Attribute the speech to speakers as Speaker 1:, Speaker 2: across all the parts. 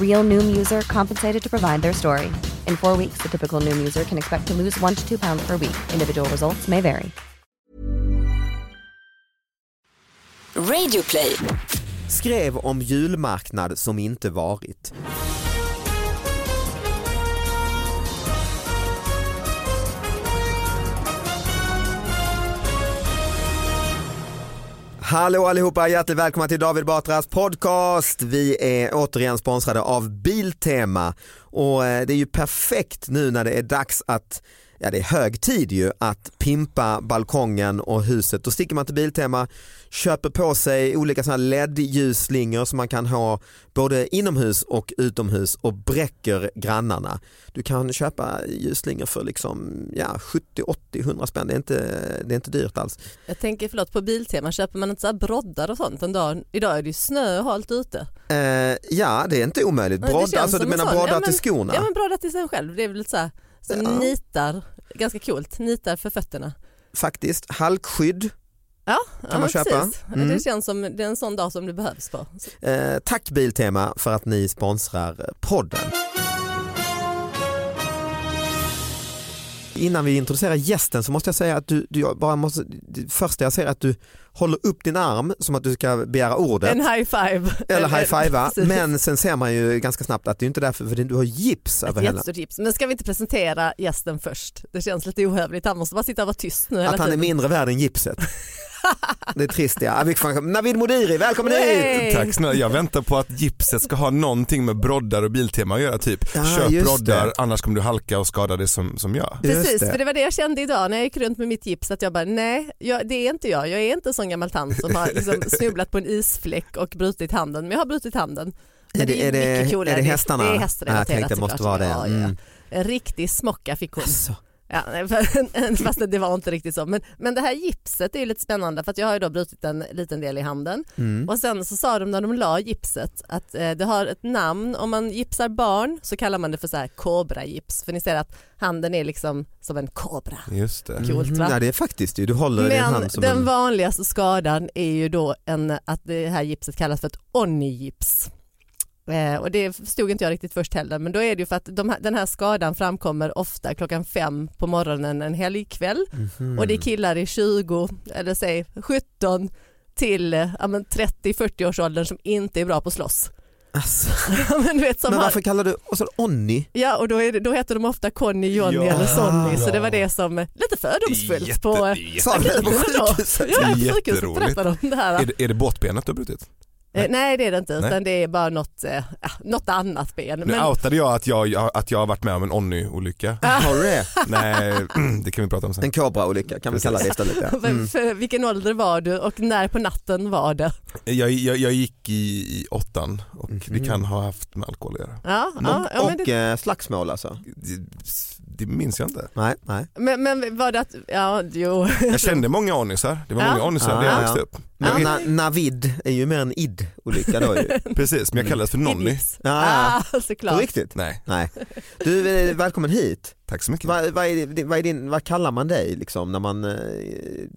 Speaker 1: Real Noom user compensated to provide their story. In four weeks, the typical Noom user can expect to lose one to two pounds per week. Individual results may vary.
Speaker 2: Radioplay.
Speaker 3: skrev om julmarknad som inte varit. Hallå allihopa, hjärtligt välkomna till David Batras podcast. Vi är återigen sponsrade av Biltema och eh, det är ju perfekt nu när det är dags att Ja det är hög tid ju att pimpa balkongen och huset. Då sticker man till Biltema, köper på sig olika sådana LED-ljusslingor som man kan ha både inomhus och utomhus och bräcker grannarna. Du kan köpa ljusslingor för liksom ja, 70, 80, 100 spänn. Det är inte, det är inte dyrt alls.
Speaker 4: Jag tänker förlåt på Biltema, köper man inte så här broddar och sånt? En dag, idag är det ju snö och halt ute.
Speaker 3: Eh, ja det är inte omöjligt.
Speaker 4: Men det känns
Speaker 3: Broddar, alltså du
Speaker 4: som en
Speaker 3: menar
Speaker 4: sån.
Speaker 3: broddar
Speaker 4: Ja,
Speaker 3: till
Speaker 4: men-
Speaker 3: skorna?
Speaker 4: Ja men broddar till sig själv, det är väl lite så här som
Speaker 3: Ja.
Speaker 4: nitar, ganska coolt, nitar för fötterna.
Speaker 3: Faktiskt. Halkskydd,
Speaker 4: Ja,
Speaker 3: man
Speaker 4: ja, men
Speaker 3: köpa?
Speaker 4: precis.
Speaker 3: Mm.
Speaker 4: Det känns som det är en sån dag som det behövs på.
Speaker 3: eh, tack Biltema för att ni sponsrar eh, podden. Innan vi introducerar gästen så måste jag säga att du, du jag bara måste, det första jag ser är att du håller upp din arm som att du ska begära ordet.
Speaker 4: En high five.
Speaker 3: eller high fivea
Speaker 4: precis.
Speaker 3: men sen ser man ju ganska snabbt att det är inte därför för du har gips över
Speaker 4: Ett
Speaker 3: hela.
Speaker 4: jättestort tips. Men ska vi inte presentera gästen först? Det känns lite ohövligt, han måste bara sitta och vara tyst nu hela
Speaker 3: Att han är
Speaker 4: tiden.
Speaker 3: mindre värd än gipset. det är trist ja. Vi får- Navid Modiri, välkommen hit!
Speaker 4: Hej!
Speaker 5: Tack snälla, jag väntar på att gipset ska ha någonting med broddar och biltema att göra typ.
Speaker 3: Ja,
Speaker 5: Köp
Speaker 3: just
Speaker 5: broddar
Speaker 3: det.
Speaker 5: annars kommer du halka och skada dig som, som jag.
Speaker 3: Just
Speaker 4: Precis,
Speaker 3: det.
Speaker 4: för det var det jag kände idag när jag gick runt med mitt gips att jag bara nej, jag, det är inte jag. Jag är inte en sån gammal tant som har liksom snubblat på en isfläck och brutit handen. Men jag har brutit handen. Men
Speaker 3: Är det, är, det,
Speaker 4: mycket
Speaker 3: är
Speaker 4: coolare.
Speaker 3: det hästarna?
Speaker 4: Det är
Speaker 3: ja, jag
Speaker 4: hästrelaterat
Speaker 3: tänkte det måste vara
Speaker 4: såklart.
Speaker 3: det.
Speaker 4: Ja, ja, ja.
Speaker 3: Mm.
Speaker 4: En riktig smocka fick hon.
Speaker 3: Alltså,
Speaker 4: Ja, nej, för- fast det var inte riktigt så. Men, men det här gipset är ju lite spännande för att jag har ju då brutit en liten del i handen.
Speaker 3: mm.
Speaker 4: Och sen så sa de när de la gipset att eh, det har ett namn, om man gipsar barn så kallar man det för så här kobragips. För ni ser att handen är liksom som en kobra.
Speaker 5: Just det.
Speaker 4: Coolt, va?
Speaker 3: Mm, Ja, det är faktiskt det. Du håller i din
Speaker 4: Men
Speaker 3: hand som
Speaker 4: den
Speaker 3: en...
Speaker 4: vanligaste skadan är ju då en, att det här gipset kallas för ett onnygips. Eh, och det förstod inte jag riktigt först heller, men då är det ju för att de här, den här skadan framkommer ofta klockan fem på morgonen en helgkväll
Speaker 3: Mhm.
Speaker 4: och det är killar i 20, eller säg 17 till eh, ja, men 30-40 års åldern som inte är bra på att slåss.
Speaker 3: alltså,
Speaker 4: Ja, men du vet, som
Speaker 3: men
Speaker 4: har,
Speaker 3: varför kallar du och så Onni?
Speaker 4: ja, och då, är det, då heter de ofta Conny, Johnny
Speaker 5: Ja.
Speaker 4: eller Sonny, så
Speaker 5: Ja.
Speaker 4: det var det som, lite fördomsfullt
Speaker 5: Jätte-
Speaker 4: på
Speaker 5: jätte-
Speaker 3: Sa du det på
Speaker 4: Akuten då?
Speaker 3: sjukhuset?
Speaker 4: Ja,
Speaker 5: Jätteroligt.
Speaker 4: sjukhuset berättade om det här.
Speaker 5: Är det, är det båtbenet du har brutit?
Speaker 4: Eh, Nej det är det inte utan
Speaker 5: Nej.
Speaker 4: det är bara något, eh, ja, något annat ben.
Speaker 5: Nu
Speaker 4: Men,
Speaker 5: outade jag att jag, att jag har varit med om en Onny-olycka.
Speaker 3: Har du det?
Speaker 5: Nej, det kan vi prata om sen.
Speaker 3: En kobraolycka kan vi kalla det istället. Ja.
Speaker 4: för, för, vilken ålder var du och när på natten var det?
Speaker 5: Jag, jag, jag gick i, i åttan och det
Speaker 3: Mhm.
Speaker 5: kan ha haft med alkohol att göra.
Speaker 4: Ja, ja, ja,
Speaker 3: Och,
Speaker 4: men, det,
Speaker 3: eh, slagsmål alltså?
Speaker 5: Det, det minns jag inte.
Speaker 3: Nej, nej.
Speaker 4: men, men var det att, ja jo,
Speaker 5: Jag kände många onnisar. Det var
Speaker 4: Ja.
Speaker 5: många onnisar när
Speaker 3: Ja,
Speaker 5: jag
Speaker 3: ja,
Speaker 5: växte upp.
Speaker 3: Men na,
Speaker 4: Ja.
Speaker 3: Navid är ju mer en id-olycka då ju.
Speaker 5: Precis,
Speaker 3: Mm.
Speaker 5: men jag kallades för Nonny.
Speaker 4: gips.
Speaker 3: Ja, ja.
Speaker 4: Ah,
Speaker 3: På
Speaker 4: såklart.
Speaker 3: riktigt?
Speaker 5: Nej,
Speaker 3: Nej. Du, eh, välkommen hit.
Speaker 5: Tack så mycket.
Speaker 3: Vad, vad, är, det- vad, är din, vad kallar man dig liksom när man eh,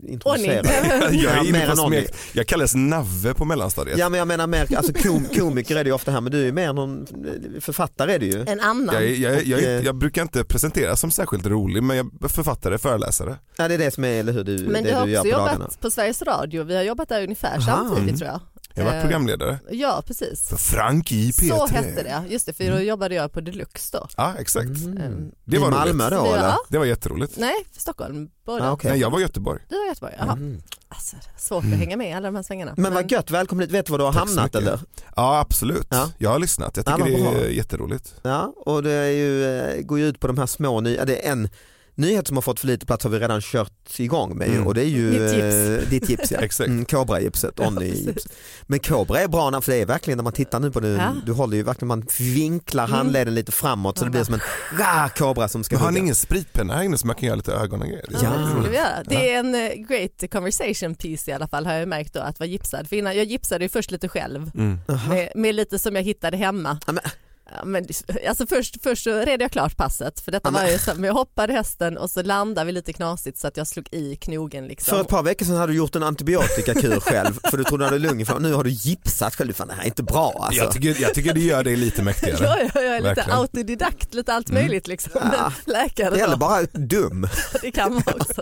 Speaker 3: introducerar
Speaker 4: Onni.
Speaker 5: Jag, är
Speaker 3: Ja, mer
Speaker 5: inne på
Speaker 3: än Onni.
Speaker 5: smek. jag kallas Navve på mellanstadiet.
Speaker 3: Ja men jag menar mer, alltså kom, komiker är det ju ofta här men du är mer någon, eh, författare är du ju.
Speaker 4: En annan.
Speaker 5: Jag, är- jag, är- jag, är-
Speaker 3: Och, eh,
Speaker 5: jag brukar inte presentera som särskilt rolig men jag är författare, föreläsare.
Speaker 3: Ja det är det som är, eller hur, du,
Speaker 4: Men du
Speaker 3: det
Speaker 4: har
Speaker 3: du gör
Speaker 4: också
Speaker 3: på dagarna. Mm.
Speaker 4: jobbat på Sveriges Radio, vi har jobbat där ungefär samtidigt tror jag.
Speaker 5: Jag har varit
Speaker 4: Eh,
Speaker 5: programledare
Speaker 4: Ja, precis.
Speaker 5: för Frank i P3.
Speaker 4: Så hette det, just det, för
Speaker 3: Mm.
Speaker 4: då jobbade jag på Deluxe då.
Speaker 5: Ja exakt.
Speaker 4: Eh,
Speaker 5: Det var
Speaker 3: I Malmö
Speaker 5: roligt.
Speaker 3: då
Speaker 4: Ja.
Speaker 3: eller?
Speaker 5: Det var jätteroligt.
Speaker 4: Nej, Stockholm, båda.
Speaker 3: Ah, okej. Mm.
Speaker 5: Nej, jag var i Göteborg.
Speaker 4: Du har Göteborg, jaha. Alltså, det är svårt att hänga med i alla de här svängarna.
Speaker 3: Men vad gött, välkommen hit. Vet du var du har
Speaker 5: Tack så
Speaker 3: hamnat
Speaker 5: mycket.
Speaker 3: eller?
Speaker 5: Ja absolut.
Speaker 3: Ja.
Speaker 5: Jag har lyssnat. Jag tycker
Speaker 3: Ja, vad
Speaker 5: det
Speaker 3: bra.
Speaker 5: är jätteroligt.
Speaker 3: Ja, och det är ju, eh, går ju ut på de här små nya, det är en nyhet som har fått för lite plats har vi redan kört igång med ju,
Speaker 5: Mm.
Speaker 3: och det är ju
Speaker 4: Mitt gips.
Speaker 3: eh, ditt gips. Ja.
Speaker 5: Exakt.
Speaker 3: Mm, Kobra-gipset, Onni-gips. Men kobra är bra när- för det är verkligen när man tittar nu på det,
Speaker 4: Ja. Mm.
Speaker 3: du håller ju verkligen, man vinklar handleden lite framåt så det blir som en rah, kobra som ska
Speaker 5: Men har ni
Speaker 3: hugga.
Speaker 5: ingen spritpenna här inne som man kan göra lite ögon och grejer? Det är
Speaker 4: Ja,
Speaker 3: Ah.
Speaker 5: väldigt
Speaker 4: det skulle
Speaker 5: roligt.
Speaker 4: vi göra. Det är en eh, great conversation piece i alla fall har jag märkt då att vara gipsad. För innan, jag gipsade ju först lite själv med, med lite som jag hittade hemma.
Speaker 3: Mm. Ja, men-
Speaker 4: Ja, men, alltså först, först så red jag klart passet för detta var ju så, men jag hoppade hästen och så landade vi lite knasigt så att jag slog i knogen liksom.
Speaker 3: För ett par veckor sedan hade du gjort en antibiotikakur själv för du trodde du hade lunginflammation. Nu har du gipsat själv. Du, Fan, det här är inte bra alltså.
Speaker 5: Jag tycker, jag tycker det gör dig lite mäktigare.
Speaker 4: Ja, ja, jag är lite
Speaker 5: Verkligen.
Speaker 4: autodidakt, lite allt möjligt liksom.
Speaker 3: Mm. Ja.
Speaker 4: Läkare
Speaker 3: Det gäller
Speaker 4: då,
Speaker 3: bara dum.
Speaker 4: det kan man också.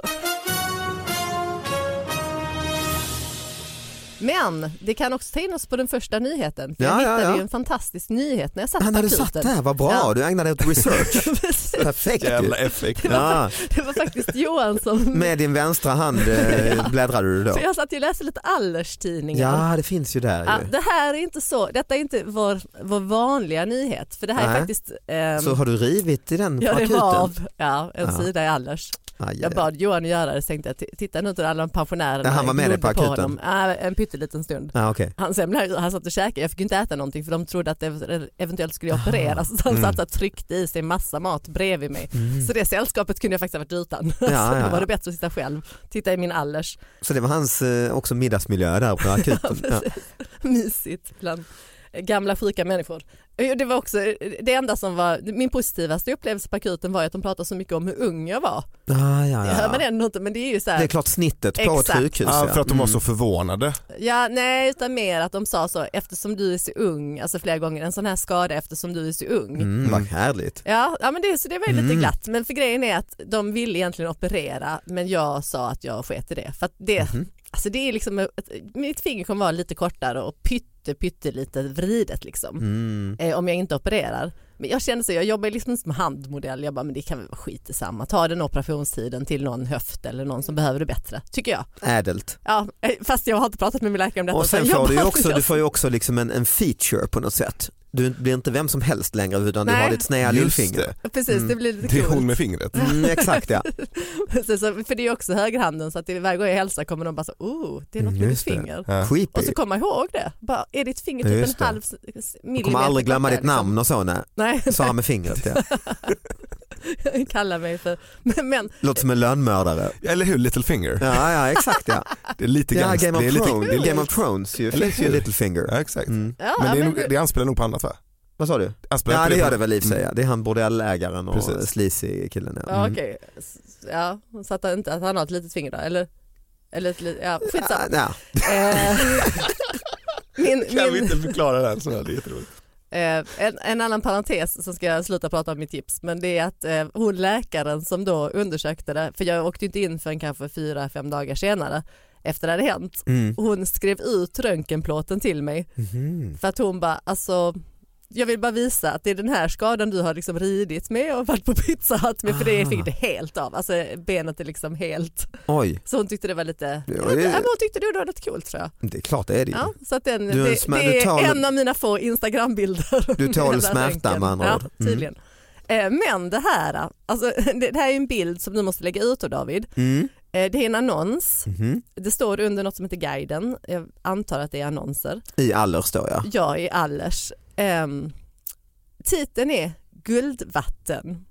Speaker 4: Men det kan också ta in oss på den första nyheten. För jag
Speaker 3: Ja, ja,
Speaker 4: hittade
Speaker 3: ja.
Speaker 4: ju en fantastisk nyhet när jag satt
Speaker 3: Han hade
Speaker 4: på
Speaker 3: satt
Speaker 4: akuten.
Speaker 3: där, vad bra.
Speaker 4: Ja.
Speaker 3: Du ägnade dig åt research.
Speaker 4: Precis.
Speaker 3: Perfekt ju.
Speaker 5: Jävla effekt.
Speaker 3: Ja.
Speaker 4: Det var faktiskt Johan som...
Speaker 3: Med din vänstra hand eh, bläddrade du då?
Speaker 4: För jag satt ju och läste lite Allers-tidningar.
Speaker 3: Ja det finns ju där
Speaker 4: Ja,
Speaker 3: ju.
Speaker 4: det här är inte så, detta är inte vår, vår vanliga nyhet för det här
Speaker 3: Nej.
Speaker 4: är faktiskt ehm,
Speaker 3: Så har du rivit i den Ah,
Speaker 4: ja,
Speaker 3: på
Speaker 4: det
Speaker 3: akuten?
Speaker 4: var av, ja, en
Speaker 3: Ja.
Speaker 4: sida i Allers.
Speaker 3: Aj,
Speaker 4: Jag
Speaker 3: aj,
Speaker 4: bad Johan göra det så tänkte jag t- titta nu till alla de pensionärerna.
Speaker 3: Ja, han var med
Speaker 4: Jag
Speaker 3: dig
Speaker 4: glodde
Speaker 3: på akuten?
Speaker 4: honom. Ja, Äh, en pytteliten stund.
Speaker 3: Ja, okej.
Speaker 4: Han semlade, han satt och käkade, jag fick ju inte äta någonting för de trodde att det eventuellt skulle
Speaker 3: Ah.
Speaker 4: jag opereras. Så han
Speaker 3: Mm.
Speaker 4: satt och tryckte i sig massa mat bredvid mig. Så det sällskapet kunde jag faktiskt ha varit utan.
Speaker 3: ja,
Speaker 4: så
Speaker 3: ja.
Speaker 4: då var det bättre att sitta själv, titta i min Allers.
Speaker 3: Så det var hans eh, också middagsmiljö där på akuten? ja.
Speaker 4: mysigt bland gamla sjuka människor. Jo, Det var också det enda som var min positivaste upplevelse på akuten var ju att de pratade så mycket om hur ung jag var.
Speaker 3: Ah, ja,
Speaker 4: Det hör man
Speaker 3: ja.
Speaker 4: ändå inte men det är ju så
Speaker 3: Det är
Speaker 4: här,
Speaker 3: klart snittet på ett
Speaker 4: Exakt.
Speaker 3: sjukhus.
Speaker 5: Ja, för att de var
Speaker 3: Mm.
Speaker 5: så förvånade.
Speaker 4: ja nej utan mer att de sa så eftersom du är så ung, alltså flera gånger en sån här skada eftersom du är så ung.
Speaker 3: Mm, vad härligt.
Speaker 4: Ja, ja men det, så det var ju lite
Speaker 3: Mm.
Speaker 4: glatt men för grejen är att de ville egentligen operera men jag sa att jag sket i det. För att det,
Speaker 3: Mhm.
Speaker 4: alltså det är liksom, ett- mitt finger kommer vara lite kortare och pytte pyttelite vridet liksom.
Speaker 3: Mm.
Speaker 4: eh, om jag inte opererar. Men jag känner så, jag jobbar ju liksom som handmodell, jag bara men det kan väl vara skit i samma. Ta den operationstiden till någon höft eller någon som behöver det bättre, tycker jag.
Speaker 3: Ädelt.
Speaker 4: Ja, eh, fast jag har inte pratat med min läkare om detta.
Speaker 3: Och
Speaker 4: så
Speaker 3: sen
Speaker 4: jag
Speaker 3: får du, ju
Speaker 4: bara-
Speaker 3: också, du får ju också liksom en, en feature på något sätt. Du blir inte vem som helst längre utan du
Speaker 4: Nej.
Speaker 3: har ditt sneda
Speaker 5: Just
Speaker 3: lillfinger.
Speaker 5: det.
Speaker 4: Precis, det blir lite
Speaker 5: Det är hon
Speaker 4: coolt.
Speaker 5: med fingret.
Speaker 3: Mm, exakt ja.
Speaker 4: Så- så- För det är ju också högerhanden så att det, varje gång jag hälsar kommer de bara så, oh, det är något med ditt
Speaker 3: Mm, Just det.
Speaker 4: finger.
Speaker 5: Ja.
Speaker 3: Creepy.
Speaker 4: Och så kommer jag ihåg det, bara, är ditt finger typ
Speaker 3: Just det.
Speaker 4: en halv s- s-
Speaker 3: Du
Speaker 4: millimeter
Speaker 3: kommer aldrig glömma
Speaker 4: kortare,
Speaker 3: ditt namn och så nej.
Speaker 4: Liksom.
Speaker 3: Sa han med fingret ja.
Speaker 4: Nej, kalla mig för, men, men
Speaker 3: Låter som en lönnmördare.
Speaker 5: Eller hur, Little Finger.
Speaker 3: Ja, ja exakt ja.
Speaker 5: Det är lite
Speaker 3: Ja,
Speaker 5: gans-
Speaker 3: Game of
Speaker 5: det är lite-
Speaker 3: Thrones,
Speaker 5: det är-
Speaker 3: Game of Thrones ju.
Speaker 5: Eller
Speaker 3: finns ju
Speaker 5: hur?
Speaker 3: Littlefinger.
Speaker 5: Ja, exakt.
Speaker 3: Mm.
Speaker 4: ja,
Speaker 5: Men det, är
Speaker 4: men
Speaker 5: nog,
Speaker 4: du-
Speaker 5: det anspelar nog på annat va?
Speaker 3: Vad sa du?
Speaker 5: Anspelar
Speaker 3: Ja
Speaker 5: inte
Speaker 3: det
Speaker 5: på-
Speaker 3: gör det väl i och för sig.
Speaker 5: Mm.
Speaker 3: ja. Det är han bordellägaren och
Speaker 5: Precis.
Speaker 3: sleazy killen. Ja.
Speaker 4: Ja,
Speaker 3: Mm.
Speaker 4: okej. S- Ja, så att han, inte, att han har ett litet finger då, eller? Eller ett litet, ja, skitsamma.
Speaker 3: Ja, ja.
Speaker 4: Eh, min,
Speaker 5: Kan vi
Speaker 4: min,
Speaker 5: inte förklara det här? Så här, Det är jätteroligt.
Speaker 4: eh, en, en annan parentes så ska jag sluta prata om mitt gips, men det är att eh, hon läkaren som då undersökte det, för jag åkte inte in förrän kanske fyra, fem dagar senare efter det hade hänt,
Speaker 3: Mm.
Speaker 4: hon skrev ut röntgenplåten till mig
Speaker 3: Mhm.
Speaker 4: för att hon bara, alltså jag vill bara visa att det är den här skadan du har liksom ridit med och varit på pizza Hut med för det
Speaker 3: Ah.
Speaker 4: fick det helt av. Alltså benet är liksom helt
Speaker 3: Oj,
Speaker 4: Så hon tyckte det var lite,
Speaker 3: Ja,
Speaker 4: ja,
Speaker 3: det-
Speaker 4: men hon tyckte det var något coolt tror jag.
Speaker 3: det är klart det är det ju.
Speaker 4: Ja, så att
Speaker 3: Du
Speaker 4: den,
Speaker 3: är en
Speaker 4: det,
Speaker 3: smär- du
Speaker 4: det är
Speaker 3: tål-
Speaker 4: en av mina få Instagram-bilder.
Speaker 3: Du tål
Speaker 4: Med den där
Speaker 3: smärta,
Speaker 4: röntgen.
Speaker 3: med andra
Speaker 4: ja,
Speaker 3: ord. Mm.
Speaker 4: tydligen. Eh, Men det här, alltså, det, det här är en bild som du måste lägga ut av David.
Speaker 3: Mm.
Speaker 4: Eh, Det är en annons,
Speaker 3: Mhm.
Speaker 4: det står under något som heter guiden, jag antar att det är annonser.
Speaker 3: I Allers då ja.
Speaker 4: Jag i Allers. Ehm, titeln är Guldvatten.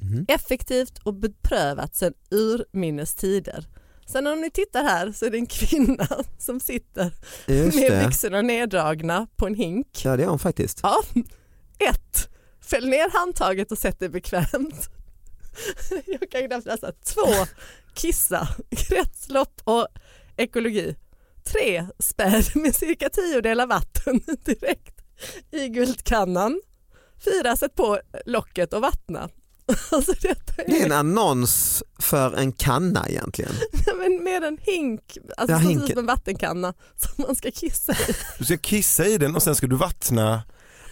Speaker 3: Mhm.
Speaker 4: Effektivt och beprövat sedan urminnes tider. Sen om ni tittar här så är det en kvinna som sitter
Speaker 3: Just
Speaker 4: Mm. med
Speaker 3: det.
Speaker 4: byxorna neddragna på en hink.
Speaker 3: Ja det är hon faktiskt.
Speaker 4: Ja, ett. Fäll ner handtaget och sätt det bekvämt. Jag kan knappt läsa. Två, kissa, kretslopp och ekologi. Tre, späd med cirka tiodelar vatten direkt i guldkannan. Fyra, sätt på locket och vattna. Alltså detta
Speaker 3: Det är
Speaker 4: är
Speaker 3: en annons för en kanna egentligen.
Speaker 4: men med en hink, alltså
Speaker 3: Ja,
Speaker 4: som
Speaker 3: hinken.
Speaker 4: typ en vattenkanna som man ska kissa i.
Speaker 5: Du ska kissa i den och sen ska du vattna.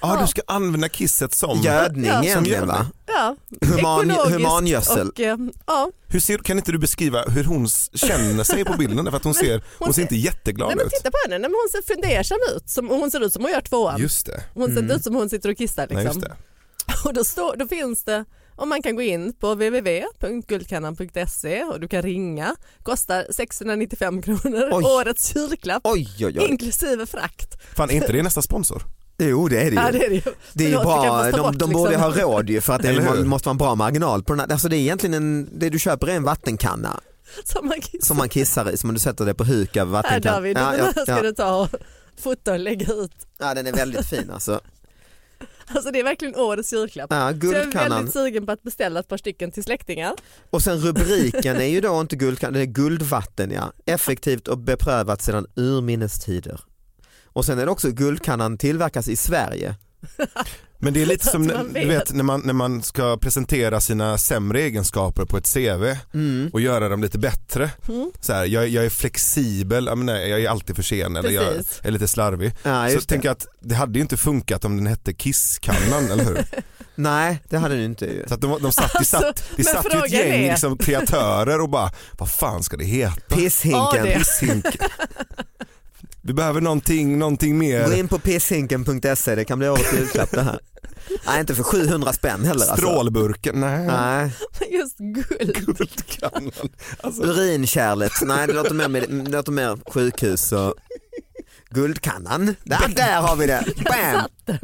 Speaker 5: Ah,
Speaker 4: Ja.
Speaker 5: du ska använda kisset som.
Speaker 3: Gödning
Speaker 4: Ja.
Speaker 3: egentligen va?
Speaker 4: Ja,
Speaker 3: Human,
Speaker 4: ekologiskt
Speaker 3: humangödsel.
Speaker 4: och eh, ja,
Speaker 5: Hur ser, kan inte du beskriva hur hon s- känner sig på bilden? För att hon ser, hon ser
Speaker 4: ser-
Speaker 5: inte jätteglad
Speaker 4: Nej, men
Speaker 5: ut.
Speaker 4: titta på henne, Nej, men hon ser fundersam ut. Som, hon ser ut som hon gör tvåan.
Speaker 5: Just det.
Speaker 4: Hon
Speaker 3: Mm.
Speaker 4: ser inte ut som hon sitter och kissar. Liksom.
Speaker 5: Nej, just det.
Speaker 4: Och då, står, då finns det, om man kan gå in på www.guldkannan.se och du kan ringa. Kostar 695 kronor,
Speaker 3: Oj.
Speaker 4: årets julklapp.
Speaker 3: Oj oj oj.
Speaker 4: Inklusive frakt.
Speaker 5: Fan, är inte det nästa sponsor?
Speaker 3: Jo det är
Speaker 4: Ja,
Speaker 3: det
Speaker 4: det
Speaker 3: ju.
Speaker 4: är det ju.
Speaker 3: Det är ju
Speaker 4: Förlåt, vi kan
Speaker 3: bra,
Speaker 4: få ta
Speaker 3: de,
Speaker 4: bort,
Speaker 3: de borde
Speaker 4: liksom.
Speaker 3: ha råd ju för att det
Speaker 5: Eller hur?
Speaker 3: är- måste vara en bra marginal på den här. Alltså det är egentligen en, det du köper är en vattenkanna
Speaker 4: Som man kissar.
Speaker 3: som man kissar i, som du sätter det på huk av
Speaker 4: Här
Speaker 3: vattenkanna.
Speaker 4: David,
Speaker 3: ja,
Speaker 4: den
Speaker 3: ja,
Speaker 4: här ska
Speaker 3: ja.
Speaker 4: du ta och fota och lägga ut.
Speaker 3: ja den är väldigt fin alltså.
Speaker 4: Alltså det är verkligen årets julklapp.
Speaker 3: Ja,
Speaker 4: Så jag är
Speaker 3: guldkannan.
Speaker 4: väldigt sugen på att beställa ett par stycken till släktingar.
Speaker 3: Och sen rubriken är ju då inte guldkanna, det är guldvatten ja. Effektivt och beprövat sedan urminnes tider. Och sen är det också guldkannan tillverkas i Sverige.
Speaker 5: Men det är lite
Speaker 4: Så att
Speaker 5: som
Speaker 4: man
Speaker 5: du vet,
Speaker 4: vet.
Speaker 5: när, man, när man ska presentera sina sämre egenskaper på ett CV och göra dem lite bättre. Så här, jag, jag är flexibel, jag, menar, jag är alltid för sen eller jag
Speaker 4: Precis.
Speaker 5: är lite slarvig.
Speaker 3: Ja,
Speaker 5: så
Speaker 3: just det.
Speaker 5: tänker jag att det hade ju inte funkat om den hette Kisskannan, eller hur?
Speaker 3: Nej det hade du inte ju.
Speaker 5: Så att de, de satt, det satt, det
Speaker 4: men
Speaker 5: satt ju ett
Speaker 4: frågan
Speaker 5: gäng
Speaker 4: är-
Speaker 5: liksom, kreatörer och bara, vad fan ska det heta?
Speaker 4: Ja,
Speaker 3: Pisshinken.
Speaker 4: det-
Speaker 5: Pissink. Vi behöver någonting, någonting
Speaker 3: Gå
Speaker 5: mer.
Speaker 3: in på pisshinken.se, E, det kan bli årets julklapp det här. Nej inte för 700 spänn heller alltså.
Speaker 5: Strålburken, nej.
Speaker 3: Nej.
Speaker 4: Just guld.
Speaker 5: Guldkannan. Alltså,
Speaker 3: Urinkärlet, nej det låter mer, med, det låter mer sjukhus och guldkannan. Där, där har vi det, bam!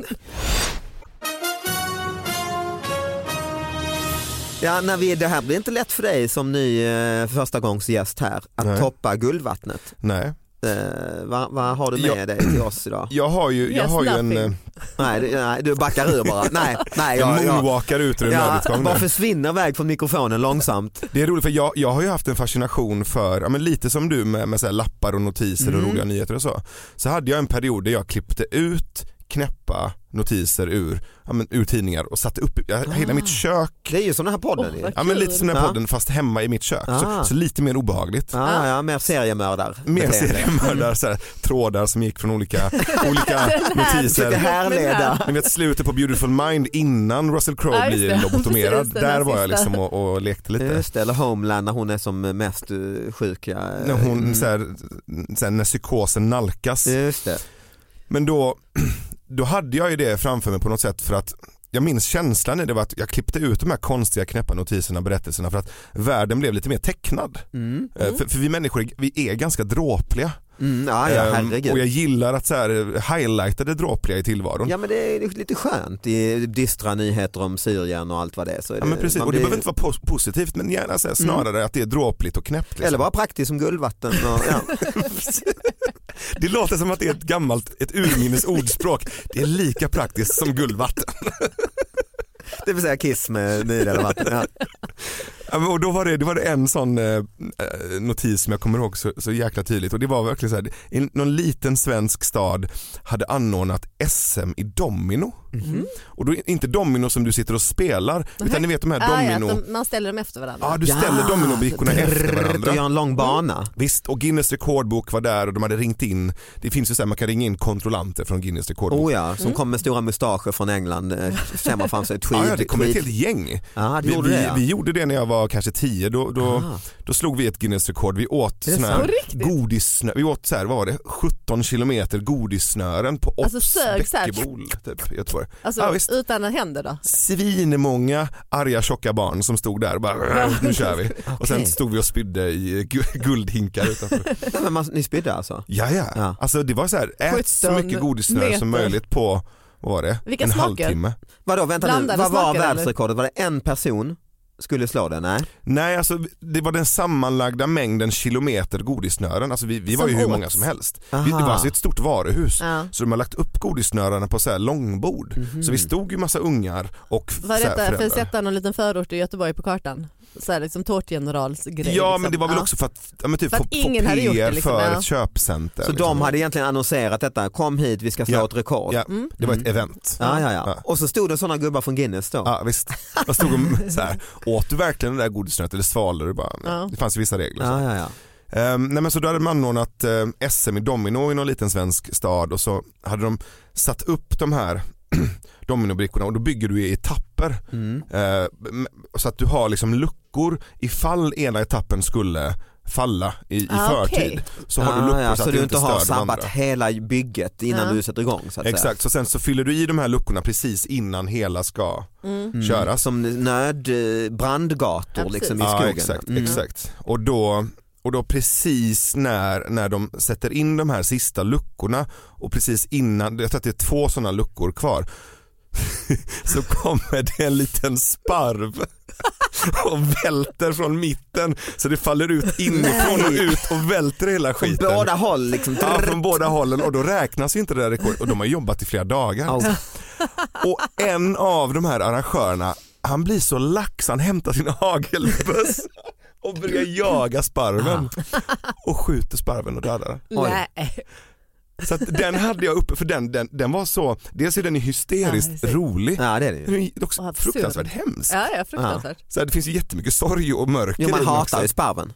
Speaker 3: Ja, när vi, det här blir inte lätt för dig som ny eh, förstagångsgäst här att
Speaker 5: Nej.
Speaker 3: toppa guldvattnet.
Speaker 5: nej.
Speaker 3: Eh, vad, vad har du med
Speaker 5: Jag-
Speaker 3: dig till oss idag?
Speaker 5: Jag har ju, jag
Speaker 4: Yes,
Speaker 5: har ju en,
Speaker 4: nothing.
Speaker 5: eh,
Speaker 3: nej, du, nej, du backar ur bara. Nej, nej,
Speaker 5: jag
Speaker 3: jag, jag,
Speaker 5: moonwalkar ut ur en
Speaker 3: jag,
Speaker 5: nödutgång.
Speaker 3: bara
Speaker 5: där.
Speaker 3: försvinner iväg från mikrofonen långsamt.
Speaker 5: Det är roligt för jag, jag har ju haft en fascination för, ja, men lite som du med, med så här lappar och notiser
Speaker 4: Mm.
Speaker 5: och roliga nyheter och så. Så hade jag en period där jag klippte ut knäppa notiser ur, ja, men, ur tidningar och satte upp
Speaker 4: Ah.
Speaker 5: jag, hela mitt kök.
Speaker 3: Det är ju som den här podden.
Speaker 4: Åh,
Speaker 3: ju.
Speaker 4: vad-
Speaker 5: Ja, men lite som den här
Speaker 3: Ja.
Speaker 5: podden fast hemma i mitt kök.
Speaker 3: Ah.
Speaker 5: Så, så lite mer
Speaker 4: Ah.
Speaker 5: obehagligt.
Speaker 3: ja, ja, mer seriemördar.
Speaker 5: Mer
Speaker 3: beteende.
Speaker 5: seriemördare, så här, trådar som gick från olika, olika
Speaker 3: Det
Speaker 5: notiser.
Speaker 3: här leda.
Speaker 5: Ni vet slutet på Beautiful Mind innan Russell Crowe
Speaker 4: Ja, just
Speaker 5: blir
Speaker 4: det.
Speaker 5: lobotomerad.
Speaker 4: Precis, den här
Speaker 5: Där var jag
Speaker 4: sista.
Speaker 5: liksom och, och lekte lite.
Speaker 3: Just det, eller Homeland när hon är som mest eh, sjuk. Ja.
Speaker 5: När, hon,
Speaker 3: Mm.
Speaker 5: så här, så här, när psykosen nalkas.
Speaker 3: Just det.
Speaker 5: Men då, då hade jag ju det framför mig på något sätt för att jag minns känslan i det var att jag klippte ut de här konstiga knäppa notiserna och berättelserna för att världen blev lite mer tecknad. Eh, För, för vi människor är- vi är ganska dråpliga.
Speaker 3: Mm, ja, ja,
Speaker 5: Ehm, och jag
Speaker 3: herregud.
Speaker 5: gillar att så här, eh, highlighta det dråpliga i tillvaron.
Speaker 3: Ja men det är lite skönt i distra nyheter om Syrien och allt vad det är. Så är
Speaker 5: Ja, men precis.
Speaker 3: man
Speaker 5: Och det
Speaker 3: blir- Mm.
Speaker 5: behöver inte vara pos- positivt men gärna så här, snarare att det är dråpligt och knäppt. Liksom.
Speaker 3: Eller bara praktiskt som guldvatten. Och, ja.
Speaker 5: Det låter som att det är ett gammalt, ett urminnes ordspråk. Det är lika praktiskt som guldvatten.
Speaker 3: Det vill säga kiss med nyrela vatten. Ja.
Speaker 5: Ja, men och då var det, det var det en sån eh, eh, notis som jag kommer ihåg så, så jäkla tydligt och det var verkligen så här, i någon liten svensk stad hade anordnat SM i domino. Och då är inte domino som du sitter och spelar utan ni vet de här
Speaker 4: Ah, ja,
Speaker 5: domino, Ah,
Speaker 4: att de- man ställer dem efter varandra.
Speaker 5: ja, du ställer
Speaker 3: Ja.
Speaker 5: dominobrickorna efter
Speaker 3: Och
Speaker 5: varandra.
Speaker 3: Ah.
Speaker 5: Mm.
Speaker 3: gör en lång bana.
Speaker 5: Visst, och Guinness rekordbok var där och de hade ringt in, det finns ju så här, man kan ringa in kontrollanter från Guinness rekordbok.
Speaker 3: Oh ja, som kom med stora mustascher från England. eh, Känner framför sig. Tweed,
Speaker 5: Mm. Ah, Ja, ja, det kom ett
Speaker 3: tweed.
Speaker 5: helt gäng.
Speaker 3: Ja, det
Speaker 5: vi,
Speaker 3: gjorde
Speaker 5: vi,
Speaker 3: det, ja.
Speaker 5: vi gjorde det när jag var kanske tio, då, då,
Speaker 3: Ah.
Speaker 5: då slog vi ett Guinness-rekord. Vi åt
Speaker 3: Är det
Speaker 5: sån
Speaker 3: sant?
Speaker 5: här
Speaker 4: På riktigt?
Speaker 5: godissnö, vi åt så här, vad var det, 17 kilometer godissnören på Ops
Speaker 4: Alltså sög så här.
Speaker 5: Bäckebol, typ, i Göteborg.
Speaker 4: Alltså
Speaker 5: Ja, visst.
Speaker 4: utan händer då?
Speaker 5: Svinmånga arga tjocka barn som stod där och bara nu kör vi. Och sen
Speaker 3: Okej.
Speaker 5: stod vi och spydde i gu- guldhinkar utanför.
Speaker 3: Nej, men man, ni spydde alltså?
Speaker 5: Ja, ja.
Speaker 3: Ja.
Speaker 5: Alltså det var så här, ät så
Speaker 4: 17
Speaker 5: mycket godissnöre som
Speaker 4: meter.
Speaker 5: möjligt på, vad var det?
Speaker 4: Vilka
Speaker 5: en
Speaker 4: smaker?
Speaker 5: halvtimme.
Speaker 3: Vadå, vänta nu,
Speaker 4: Blandade
Speaker 3: vad var
Speaker 4: smaker, eller?
Speaker 3: världsrekordet? Var det en person? skulle slå den, nej.
Speaker 5: Nej, alltså det var den sammanlagda mängden kilometer godissnören. Alltså vi, vi var
Speaker 4: Som
Speaker 5: ju hur
Speaker 4: åts.
Speaker 5: många som helst. Vi, det var
Speaker 3: Aha.
Speaker 5: alltså ett stort varuhus.
Speaker 4: Ja. Mhm.
Speaker 5: Så de har lagt upp godissnörarna på så här långbord. Så vi stod ju massa ungar och f-
Speaker 4: Var
Speaker 5: så här
Speaker 4: detta för att
Speaker 5: föräldrar.
Speaker 4: sätta någon liten förort i Göteborg på kartan? Så här liksom tårtgeneralsgrej.
Speaker 5: Ja
Speaker 4: liksom.
Speaker 5: men det var väl
Speaker 4: Ja.
Speaker 5: också för att, ja, men typ
Speaker 4: För att
Speaker 5: få, få
Speaker 4: ingen hade gjort
Speaker 5: PR
Speaker 4: det, liksom,
Speaker 5: för
Speaker 4: ja.
Speaker 5: ett köpcenter.
Speaker 3: Så
Speaker 5: liksom.
Speaker 3: de hade egentligen annonserat detta, kom hit vi ska slå
Speaker 5: Ja.
Speaker 3: ett rekord.
Speaker 5: ja,
Speaker 4: Mm.
Speaker 5: Det var ett event.
Speaker 3: Ja, ja, ja.
Speaker 5: Ja.
Speaker 3: Och så stod det sådana gubbar från Guinness då.
Speaker 5: Ja visst, jag stod och så här, åt du verkligen det där godisnöret eller svalde du bara? Nej.
Speaker 4: Ja.
Speaker 5: Det fanns ju vissa regler.
Speaker 3: Ja, ja, ja.
Speaker 5: Ehm, nej men så då hade man anordnat ehm, SM i domino i någon liten svensk stad och så hade de satt upp de här dominobrickorna och då bygger du i etapper.
Speaker 3: Mm.
Speaker 5: Ehm, m- så att du har liksom luckor ifall ena etappen skulle falla i, i
Speaker 4: Ah,
Speaker 5: förtid.
Speaker 4: okej.
Speaker 5: Så har du
Speaker 3: Ah,
Speaker 5: luckor
Speaker 3: ja,
Speaker 5: så
Speaker 3: så,
Speaker 5: att
Speaker 3: du
Speaker 5: du
Speaker 3: inte har
Speaker 5: stör de andra.
Speaker 3: sabbat hela bygget innan
Speaker 4: Ja.
Speaker 3: du sätter igång så att
Speaker 5: Exakt, så sen så fyller du i de här luckorna precis innan hela ska
Speaker 3: säga.
Speaker 5: köras.
Speaker 3: Som nöd, eh, brandgator
Speaker 4: Ja,
Speaker 3: liksom i
Speaker 5: Ja,
Speaker 3: skogen.
Speaker 5: exakt,
Speaker 3: Mm.
Speaker 5: exakt. Och då, och då precis när, när de sätter in de här sista luckorna och precis innan, jag tror att det är två sådana luckor kvar, så kommer det en liten sparv och välter från mitten så det faller ut inifrån och ut och välter hela
Speaker 3: Från
Speaker 5: skiten.
Speaker 3: båda håll liksom.
Speaker 5: Ja, från båda hållen och då räknas ju inte det där rekordet och de har jobbat i flera dagar.
Speaker 3: Au.
Speaker 5: Och en av de här arrangörerna, han blir så lax, han hämtar sin hagelböss och börjar jaga sparven. Och skjuter sparven och dödar den.
Speaker 4: Nej.
Speaker 5: Så att den hade jag uppe, för den, den, den var så, dels är den ju hysteriskt
Speaker 4: Ja,
Speaker 5: rolig,
Speaker 3: Ja det är det
Speaker 5: men
Speaker 3: ju.
Speaker 5: den är också
Speaker 4: Och absurd.
Speaker 5: fruktansvärt Ah. hemsk.
Speaker 4: Ja, ja, fruktansvärt.
Speaker 5: Så här, det finns ju jättemycket sorg och mörker
Speaker 3: Jo,
Speaker 5: i
Speaker 3: man
Speaker 5: den
Speaker 3: hatar
Speaker 5: också.
Speaker 3: ju sparven.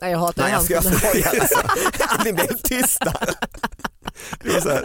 Speaker 4: Nej, jag hatar
Speaker 3: Nej jag
Speaker 4: hans-
Speaker 3: ska jag skojar alltså. Ni blev tysta.
Speaker 5: Det var så här,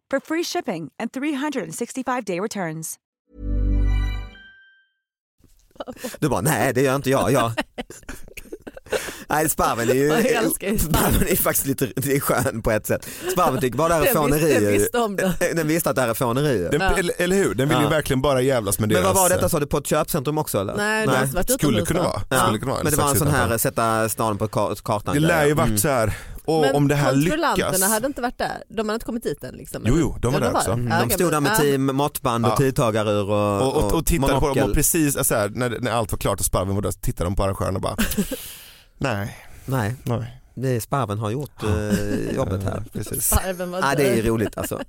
Speaker 6: for free shipping and 365-day returns.
Speaker 3: Du bara nej det gör inte jag. jag... Nej sparven är ju,
Speaker 4: Jag älskar ju sparven.
Speaker 3: sparven är faktiskt lite det är skön på ett sätt. Sparven tycker bara det här är
Speaker 4: Den visste-
Speaker 3: fånerier.
Speaker 4: den
Speaker 3: ju.
Speaker 4: visste om det.
Speaker 3: Den visste att det här är fånerier.
Speaker 5: den, eller, eller hur, den vill ju
Speaker 3: Ja.
Speaker 5: verkligen bara jävlas med
Speaker 3: Men
Speaker 5: deras... eh,
Speaker 3: vad var detta, sa du på ett köpcentrum också eller?
Speaker 4: Nej, det har inte varit
Speaker 5: Skulle
Speaker 4: utomhus,
Speaker 5: kunna
Speaker 4: va?
Speaker 5: vara.
Speaker 3: Ja.
Speaker 5: Skulle kunna vara.
Speaker 3: Men det
Speaker 5: eller
Speaker 3: var en
Speaker 5: strax
Speaker 3: sån
Speaker 5: utanför.
Speaker 3: här sätta staden på kar- kartan.
Speaker 5: Det lär ju
Speaker 3: Mm.
Speaker 5: varit så här, och
Speaker 4: Men
Speaker 5: om det här
Speaker 4: kontrollanterna
Speaker 5: lyckas.
Speaker 4: hade inte varit där, de hade inte kommit dit än liksom.
Speaker 5: Jo, jo, de var
Speaker 4: Ja,
Speaker 5: där också.
Speaker 4: Ja,
Speaker 5: Mm,
Speaker 3: De
Speaker 4: okej,
Speaker 3: stod där
Speaker 4: men-
Speaker 3: med
Speaker 4: ja.
Speaker 3: team, måttband och
Speaker 5: Ja.
Speaker 3: tidtagarur och,
Speaker 5: Och, och, och tittade på dem
Speaker 3: monokel.
Speaker 5: och precis alltså här, när, när allt var klart och sparven var där så tittade de på arrangören och bara nej,
Speaker 3: Nej,
Speaker 5: nej.
Speaker 3: det är sparven har gjort eh, jobbet här.
Speaker 5: Precis.
Speaker 4: Sparven var
Speaker 3: Ja, det är ju
Speaker 4: död.
Speaker 3: roligt alltså.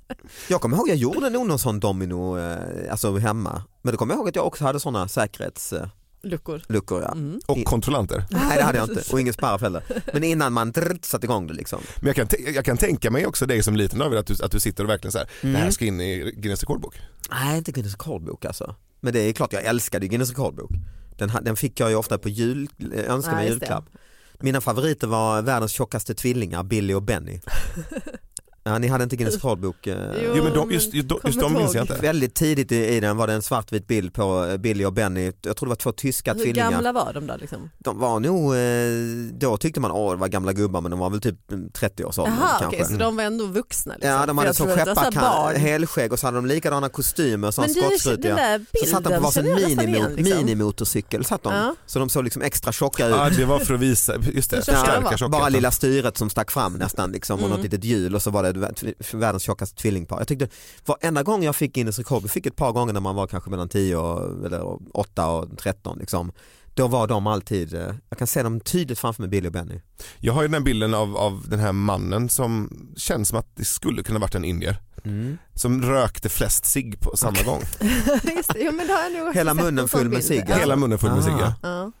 Speaker 3: Jag kommer ihåg jag gjorde nog någon sån domino eh, alltså hemma. Men då kommer jag ihåg att jag också hade såna säkerhetsluckor.
Speaker 4: Luckor.
Speaker 3: Ja.
Speaker 5: Och kontrollanter.
Speaker 3: Nej det hade jag inte och ingen sparv heller. Men innan man drrt, satte igång det liksom.
Speaker 5: Men jag kan, tä- jag kan tänka mig också dig som liten David att du, att du sitter och verkligen så här, det här ska in i Guinness rekordbok.
Speaker 3: Nej inte Guinness rekordbok alltså. Men det är klart jag älskade ju Guinness rekordbok. Den, ha- den fick jag ju ofta på jul, eh, önskade mig
Speaker 4: Ja, just det.
Speaker 3: julklapp. Mina favoriter var världens tjockaste tvillingar, Billy och Benny. Ja, ni hade inte Guinness rekordbok? eh,
Speaker 4: Jo,
Speaker 5: Jo men de,
Speaker 4: men
Speaker 5: just, just, de-
Speaker 4: kom
Speaker 5: just de
Speaker 4: inte
Speaker 5: minns jag
Speaker 4: ihåg.
Speaker 5: inte.
Speaker 3: Väldigt tidigt i, i den var det en svartvit bild på eh, Billy och Benny. Jag tror det var två tyska
Speaker 4: Hur
Speaker 3: tvillingar.
Speaker 4: gamla var de då liksom?
Speaker 3: De var nog, eh, då tyckte man åh det var gamla gubbar men de var väl typ mm, 30 års ålder
Speaker 4: Jaha,
Speaker 3: kanske. Mm.
Speaker 4: okej, så de var ändå vuxna liksom.
Speaker 3: Ja de
Speaker 4: För
Speaker 3: hade
Speaker 4: jag
Speaker 3: som
Speaker 4: tror att det var så här
Speaker 3: skepparkan,
Speaker 4: barn.
Speaker 3: helskägg och så hade de likadana kostymer som
Speaker 4: Men du, den
Speaker 3: skottsrutiga.
Speaker 4: där
Speaker 3: Så
Speaker 4: bilden
Speaker 3: satt de på varsin
Speaker 4: känner jag nästan
Speaker 3: minimo,
Speaker 4: igen, liksom.
Speaker 3: minimotorcykel satt de.
Speaker 4: Ja.
Speaker 3: Så de såg liksom extra tjocka ut.
Speaker 5: Ja, det var för att visa, just det,
Speaker 4: Så tjocka de var.
Speaker 5: förstärka
Speaker 3: Bara
Speaker 5: tjockheten.
Speaker 3: lilla styret som stack fram nästan liksom, och något litet hjul och så var det vä- världens tjockaste tvillingpar. Jag tyckte varenda gång jag fick Guinness rekord, jag fick ett par gånger när man var kanske mellan 10 och, eller 8 och 13 liksom. då var de alltid, eh, jag kan se dem tydligt framför mig Billy och Benny.
Speaker 5: Jag har ju den här bilden av, av den här mannen som känns som att det skulle kunna varit en indier.
Speaker 3: Mm.
Speaker 5: Som rökte flest cigg på samma gång.
Speaker 4: Just det, jo, men det har jag nog
Speaker 3: Hela
Speaker 4: sett en
Speaker 3: munnen
Speaker 4: sån
Speaker 3: full med
Speaker 4: bild.
Speaker 3: cigg. alltså.
Speaker 4: Ja.
Speaker 5: Hela munnen full med cigg.
Speaker 3: Ah.
Speaker 5: ja.
Speaker 4: Ja.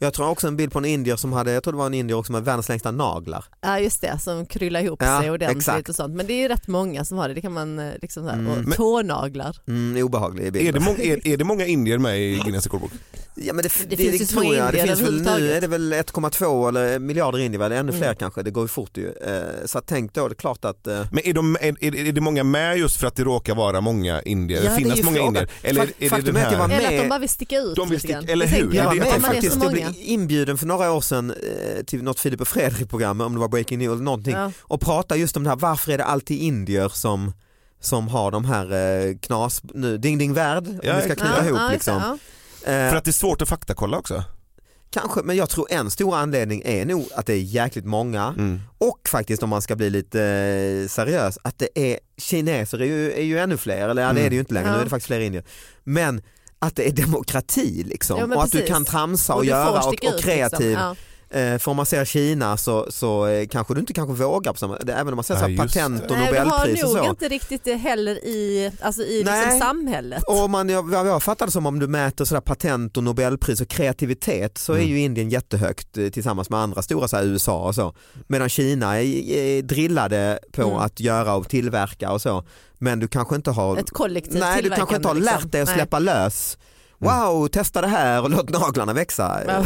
Speaker 3: Jag tror också en bild på en indier som hade, jag tror det var en indier också med världens längsta naglar.
Speaker 4: ja just det, som kryllar ihop
Speaker 3: Ja,
Speaker 4: sig ordentligt
Speaker 3: exakt.
Speaker 4: och sånt. Men det är ju rätt många som har det, det kan man eh, liksom så här, och
Speaker 5: Men-
Speaker 4: tånaglar.
Speaker 3: Mm, obehaglig bild.
Speaker 5: Är, det många, är, är det många indier med i Guinness rekordbok?
Speaker 3: Ja, men det, det,
Speaker 4: finns ju
Speaker 3: tror
Speaker 4: små
Speaker 3: jag.
Speaker 4: indier
Speaker 3: det finns väl, Nu
Speaker 4: överhuvudtaget. Mm.
Speaker 3: är det väl 1,2 eller miljarder indier, väl? ännu fler kanske, det går ju fort ju. Eh, Så att tänk då, det är klart att eh,
Speaker 5: Men är, de, är, är, är det många med just för att det råkar vara många indier?
Speaker 3: Ja, det är
Speaker 5: finnas
Speaker 3: ju
Speaker 5: många
Speaker 3: frågan.
Speaker 5: indier? Eller
Speaker 3: Fak-
Speaker 5: är, är det
Speaker 3: faktum
Speaker 5: den
Speaker 3: är att jag
Speaker 5: här?
Speaker 3: var-
Speaker 4: Eller att de
Speaker 3: med-
Speaker 4: bara vill sticka ut
Speaker 5: De vill
Speaker 4: lite
Speaker 5: sticka-
Speaker 4: grann.
Speaker 5: eller
Speaker 4: Det
Speaker 5: hur?
Speaker 4: tänker
Speaker 5: Ja,
Speaker 3: Jag
Speaker 4: jag
Speaker 3: var
Speaker 5: det är
Speaker 3: med
Speaker 4: också. Om man är
Speaker 3: faktiskt,
Speaker 4: så
Speaker 3: jag
Speaker 4: många.
Speaker 3: blev inbjuden för några år sedan eh, till något Filip och Fredrik-program, om det var Breaking News eller någonting,
Speaker 4: Ja.
Speaker 3: och prata just om det här, varför är det alltid indier som, som har de här eh, knas, nu, Ding Ding Värld, om
Speaker 5: Ja,
Speaker 3: vi ska
Speaker 5: exakt.
Speaker 3: knyta ihop
Speaker 4: just det,
Speaker 3: liksom.
Speaker 4: ja.
Speaker 3: Eh,
Speaker 5: För att det är svårt att faktakolla också.
Speaker 3: Kanske, men jag tror en stor anledning är nog att det är jäkligt många
Speaker 5: Mm.
Speaker 3: och faktiskt om man ska bli lite eh, seriös att det är kineser är ju, är ju ännu fler, eller ja, det är det ju inte längre,
Speaker 4: Mm. Ja.
Speaker 3: nu är det faktiskt fler indier. Men att det är demokrati liksom
Speaker 4: Ja, men
Speaker 3: och att du
Speaker 4: precis.
Speaker 3: kan tramsa och,
Speaker 4: Och du får
Speaker 3: göra och,
Speaker 4: sticka
Speaker 3: och
Speaker 4: ut,
Speaker 3: kreativ.
Speaker 4: Liksom. Ja.
Speaker 3: Eh, för om man ser Kina så, så eh, kanske du inte kanske vågar på samma, det- även om man ser
Speaker 5: Ja,
Speaker 3: så här
Speaker 5: just det.
Speaker 3: patent och
Speaker 4: Nej, vi
Speaker 3: nobelpris och
Speaker 4: har nog
Speaker 3: så.
Speaker 4: inte riktigt det heller i, alltså i
Speaker 3: Nej.
Speaker 4: liksom samhället.
Speaker 3: Och om man, jag, jag fattar det som om du mäter sådär patent och nobelpris och kreativitet så
Speaker 5: Mm.
Speaker 3: är ju Indien jättehögt eh, tillsammans med andra stora så här USA och så. Medan Kina är, är drillade på
Speaker 4: Mm.
Speaker 3: att göra och tillverka och så. Men du kanske inte har,
Speaker 4: Ett kollektivt
Speaker 3: nej, du kanske inte har
Speaker 4: tillverkande,
Speaker 3: lärt dig att
Speaker 4: liksom.
Speaker 3: släppa lös. Wow, testa det här och låt naglarna växa.
Speaker 4: Ja.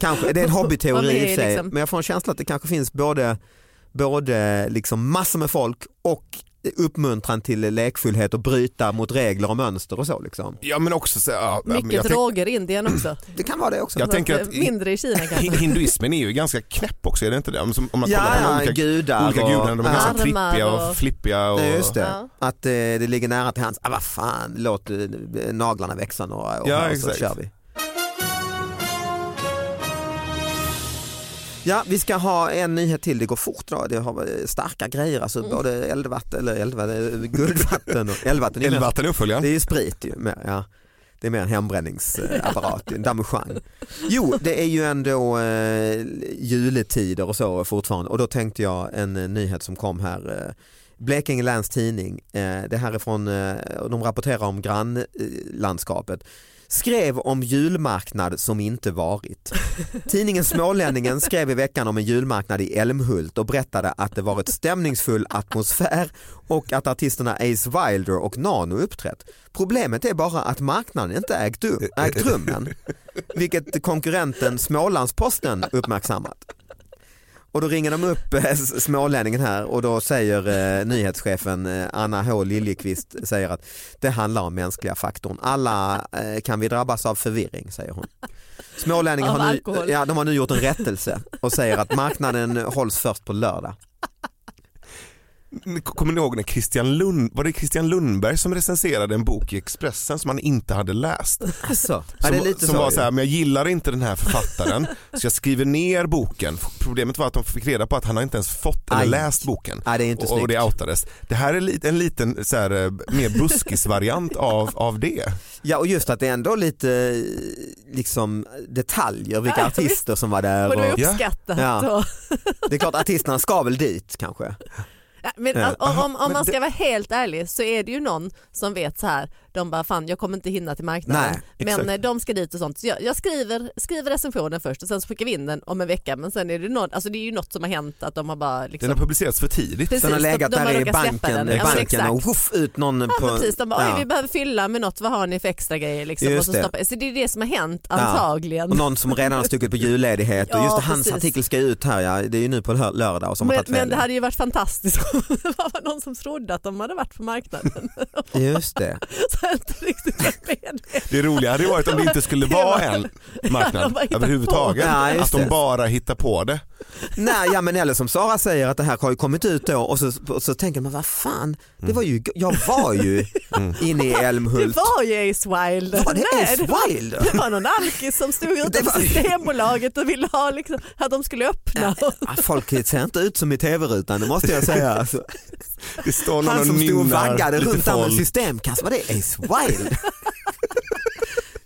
Speaker 3: Kanske, det är en
Speaker 4: Ja,
Speaker 3: hobbyteori
Speaker 4: men det
Speaker 3: i
Speaker 4: är
Speaker 3: och för sig.
Speaker 4: liksom-
Speaker 3: Men jag får en känsla att det kanske finns både, både liksom massor med folk och uppmuntran till lekfullhet och bryta mot regler och mönster och så. Liksom.
Speaker 5: Ja men också så, ja,
Speaker 4: Nej.
Speaker 5: men
Speaker 4: Mycket
Speaker 5: jag, tänk,
Speaker 4: droger i Indien också.
Speaker 3: Det kan vara det också.
Speaker 5: Jag
Speaker 4: Så
Speaker 5: tänker att-
Speaker 4: mindre i Kina kanske.
Speaker 5: hin- hinduismen är ju ganska knäpp också, är det inte det? Om som- om man kollar på de
Speaker 3: Ja, ja,
Speaker 5: olika,
Speaker 3: gudar.
Speaker 5: olika
Speaker 3: och-
Speaker 5: gudarna, de är ganska
Speaker 4: Armar
Speaker 5: trippiga och
Speaker 4: och-
Speaker 5: flippiga. Och,
Speaker 3: Ja, just det.
Speaker 4: Ja.
Speaker 3: Att eh, det ligger nära till hans, ah, vad fan, låt eh, naglarna växa några år
Speaker 5: Ja,
Speaker 3: här och så
Speaker 5: exakt.
Speaker 3: kör vi. Ja, vi ska ha en nyhet till. Det går fort idag. Det har eh, starka grejer, alltså både eldvatten, eller eldvatten, guldvatten och eldvatten. är ju mest-
Speaker 5: Elvatten är uppföljaren.
Speaker 3: Det är ju sprit ju. Mer, ja. Det är mer en hembränningsapparat, en damejeanne. Jo, det är ju ändå eh, juletider och så fortfarande och då tänkte jag en eh, nyhet som kom här. Eh, Blekinge Läns Tidning, eh, det här är från, eh, de rapporterar om grannlandskapet, skrev om julmarknad som inte varit. Tidningen Smålänningen skrev i veckan om en julmarknad i Älmhult och berättade att det varit stämningsfull atmosfär och att artisterna Ace Wilder och Nano uppträtt. Problemet är bara att marknaden inte ägt, rum, ägt rum än, vilket konkurrenten Smålandsposten uppmärksammat. Och då ringer de upp eh, s- smålänningen här och då säger eh, nyhetschefen eh, Anna H Liljekvist säger att det handlar om mänskliga faktorn. Alla eh, kan vi drabbas av förvirring säger hon. Smålänningen
Speaker 4: Av
Speaker 3: har nu,
Speaker 4: alkohol.
Speaker 3: ja, de har nu gjort en rättelse och säger att marknaden hålls först på lördag.
Speaker 5: Ni- Kommer ni ihåg när Christian, Lund, var det Christian Lundberg som recenserade en bok i Expressen som han inte hade läst?
Speaker 3: Alltså, ja,
Speaker 5: Som,
Speaker 3: det är lite
Speaker 5: som
Speaker 3: så,
Speaker 5: var
Speaker 3: ju.
Speaker 5: så här, men jag gillar inte den här författaren så jag skriver ner boken. Problemet var att de fick reda på att han har inte ens fått eller
Speaker 3: Aj.
Speaker 5: läst boken.
Speaker 3: Nej, det är inte
Speaker 5: och, och det
Speaker 3: snyggt.
Speaker 5: outades. Det här är lite- en liten så här, eh, mer buskisvariant av, av det.
Speaker 3: Ja och just att det är ändå lite eh, liksom, detaljer vilka
Speaker 4: Ja,
Speaker 3: artister som var där.
Speaker 4: Och det är
Speaker 3: Och,
Speaker 5: Ja.
Speaker 4: uppskattat.
Speaker 3: Alltså, Ja.
Speaker 4: Och,
Speaker 3: det är klart artisterna ska väl dit kanske.
Speaker 4: Ja, men
Speaker 3: Ja.
Speaker 4: om- om, om man ska vara helt ärlig så är det ju någon som vet så här, de bara fan jag kommer inte hinna till marknaden.
Speaker 3: Nej,
Speaker 4: men
Speaker 3: exakt.
Speaker 4: eh, de ska dit och sånt. Så jag, jag skriver, skriver recensionen först och sen så skickar vi in den om en vecka. Men sen är det, någon, alltså det är ju något som har hänt att de har bara liksom,
Speaker 5: Den har publicerats för tidigt.
Speaker 4: precis,
Speaker 3: Den har
Speaker 4: de-
Speaker 3: legat
Speaker 4: de har
Speaker 3: där i
Speaker 4: råkat släppa
Speaker 3: banken,
Speaker 4: den.
Speaker 3: i
Speaker 4: Ja, men
Speaker 3: banken
Speaker 4: exakt.
Speaker 3: och woof, ut någon
Speaker 4: Ja,
Speaker 3: på...
Speaker 4: men precis, de bara,
Speaker 3: ja.
Speaker 4: Oj, vi behöver fylla med något, vad har ni för extra grejer? Liksom,
Speaker 3: Just
Speaker 4: och så,
Speaker 3: det.
Speaker 4: Stoppa. så det är det som har hänt antagligen.
Speaker 3: Och någon som redan har stuckit på julledighet och
Speaker 4: Ja,
Speaker 3: just det, hans
Speaker 4: precis.
Speaker 3: artikel ska ut här ja, det är ju nu på lör- lördag och som har
Speaker 4: Men,
Speaker 3: tagit
Speaker 4: men
Speaker 3: fel.
Speaker 4: det hade ju varit fantastiskt om det var någon som trodde att de hade varit på marknaden.
Speaker 3: Just det.
Speaker 4: så jag inte riktigt var medveten.
Speaker 5: Det roliga hade ju varit om det inte skulle vara en
Speaker 4: De
Speaker 5: marknad
Speaker 4: bara hittar
Speaker 5: överhuvudtaget.
Speaker 3: på. Ja, just
Speaker 5: Att
Speaker 3: det.
Speaker 5: de bara hittar på det.
Speaker 3: Nej, ja, men eller som Sara säger att det här har ju kommit ut då och så, och så tänker man vad fan, det var ju, jag var ju inne i
Speaker 4: Mm. Det
Speaker 3: Älmhult.
Speaker 4: var ju Ace Wilder.
Speaker 3: Var det
Speaker 4: Nej,
Speaker 3: Ace
Speaker 4: det, var,
Speaker 3: Wilder?
Speaker 4: det var någon alkis som stod
Speaker 3: Det var-
Speaker 4: utanför Systembolaget och ville ha liksom, att de skulle öppna.
Speaker 3: Ja, Ah, Folk ser inte ut som i tv-rutan, det måste jag säga. Alltså.
Speaker 5: Det står någon
Speaker 3: Han som
Speaker 5: och
Speaker 3: stod och
Speaker 5: nynnar
Speaker 3: vaggade
Speaker 5: lite
Speaker 3: runt där med en
Speaker 5: folk.
Speaker 3: systemkassa, var det Ace Wilder?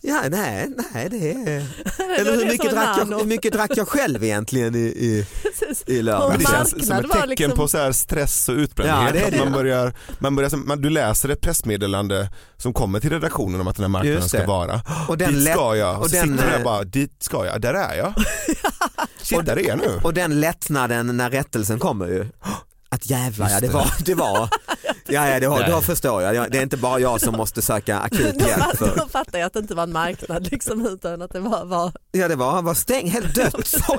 Speaker 3: Ja, nej, nej det är...
Speaker 4: det
Speaker 3: Eller
Speaker 4: var
Speaker 3: hur
Speaker 4: det
Speaker 3: mycket,
Speaker 4: som var
Speaker 3: drack jag,
Speaker 4: nano.
Speaker 3: hur mycket drack jag själv egentligen i, i,
Speaker 4: Precis.
Speaker 3: i lördags?
Speaker 5: Men det
Speaker 4: På
Speaker 5: känns
Speaker 4: marknad
Speaker 5: som ett
Speaker 4: var
Speaker 5: tecken
Speaker 4: liksom-
Speaker 5: på så här stress och utbrändhet.
Speaker 3: Ja, det är
Speaker 5: att
Speaker 3: det.
Speaker 5: Man börjar, man börjar, som- man, du läser ett pressmeddelande som kommer till redaktionen om att den här marknaden
Speaker 3: Just det.
Speaker 5: ska vara.
Speaker 3: Och den
Speaker 5: dit
Speaker 3: lätt-
Speaker 5: ska jag.
Speaker 3: och
Speaker 5: Och så
Speaker 3: den,
Speaker 5: sitter du där
Speaker 3: eh,
Speaker 5: och bara, dit ska jag, där är jag. Shit, där är jag nu.
Speaker 3: Och den lättnaden när rättelsen kommer ju. Att jävlar ja, det var, det var. Ja, ja, det var, då
Speaker 5: Nej.
Speaker 3: förstår jag. jag. Det är inte bara jag som måste söka akut
Speaker 4: Då,
Speaker 3: hjälp.
Speaker 4: fa-
Speaker 3: För,
Speaker 4: då fattar jag att det inte var en marknad liksom, utan att det var, var
Speaker 3: ja, det var, var stängt, helt dött. Så-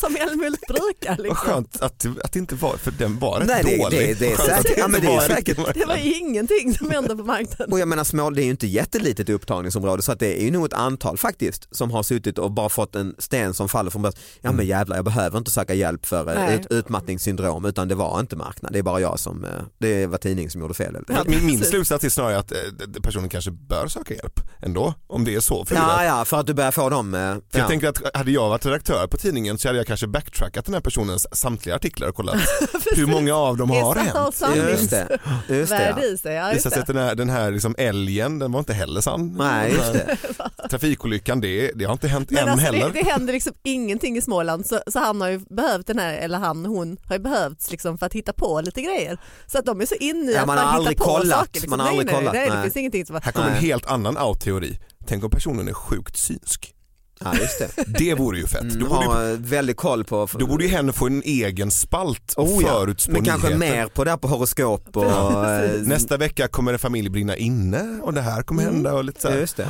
Speaker 4: som Älmhult brukar.
Speaker 5: Vad
Speaker 4: Liksom.
Speaker 5: skönt att, det- att det inte var, för den var rätt
Speaker 3: Nej, det-
Speaker 5: dålig.
Speaker 3: det- det är
Speaker 5: Skönt att
Speaker 3: säkert- ja,
Speaker 5: inte
Speaker 3: men det är
Speaker 5: var
Speaker 3: säkert-
Speaker 5: riktigt marknad.
Speaker 4: Det var ju ingenting som hände på marknaden.
Speaker 3: Och jag menar små, det är ju inte jättelitet upptagningsområde så att det är ju nog ett antal faktiskt som har suttit och bara fått en sten som faller från bröstet. Ja
Speaker 5: Mm.
Speaker 3: men jävlar jag behöver inte söka hjälp för eh,
Speaker 4: Nej.
Speaker 3: ut, utmattningssyndrom utan det var inte marknad. Det är bara jag som, eh, det var tidningen som gjorde fel. helt
Speaker 5: För
Speaker 3: enkelt.
Speaker 5: att Min, min
Speaker 4: precis.
Speaker 5: slutsats är snarare att eh, d- d- personen kanske bör söka hjälp ändå. Om det är så. För
Speaker 3: Ja, ja, för att du börjar få dem. eh,
Speaker 5: För
Speaker 3: ja.
Speaker 5: jag tänker att hade jag varit redaktör på tidningen så hade jag kanske backtrackat den här personens samtliga artiklar och kollat hur många av dem har
Speaker 4: Exakt,
Speaker 5: hänt.
Speaker 4: sanning.
Speaker 3: Just det. Just det
Speaker 4: Värde
Speaker 3: ja.
Speaker 4: i sig, ja just
Speaker 5: Visar sig
Speaker 4: det.
Speaker 5: att den här, den här liksom älgen, den var inte heller sann.
Speaker 3: Nej, just
Speaker 5: Den här Trafikolyckan, det, det har inte hänt
Speaker 4: Men
Speaker 5: än
Speaker 4: alltså
Speaker 5: heller.
Speaker 4: det, det händer liksom ingenting i Småland så, så han har ju behövt den här, eller han hon har ju behövts liksom för att hitta på lite grejer. Så att de är så inne i
Speaker 3: Ja,
Speaker 4: att
Speaker 3: man
Speaker 4: bara
Speaker 3: har
Speaker 4: hitta
Speaker 3: aldrig
Speaker 4: på
Speaker 3: kollat.
Speaker 4: saker. Liksom.
Speaker 3: Man har
Speaker 4: nej,
Speaker 3: aldrig
Speaker 4: nej,
Speaker 3: kollat,
Speaker 4: Nej,
Speaker 3: nej.
Speaker 4: det finns ingenting som bara,
Speaker 5: Här kommer en
Speaker 3: Nej.
Speaker 5: helt annan out-teori. Tänk om personen är sjukt synsk.
Speaker 3: ja, just det.
Speaker 5: Det vore ju fett. Då
Speaker 3: Mm,
Speaker 5: borde, ju-
Speaker 3: ha eh, väldigt koll på
Speaker 5: då borde ju hen få en egen spalt och
Speaker 3: Oh, ja.
Speaker 5: förutspå
Speaker 3: Men kanske
Speaker 5: nyheter.
Speaker 3: mer på det här på horoskop och eh,
Speaker 5: Nästa vecka kommer en familj brinna inne och det här kommer hända och lite så här.
Speaker 3: Mm. just det.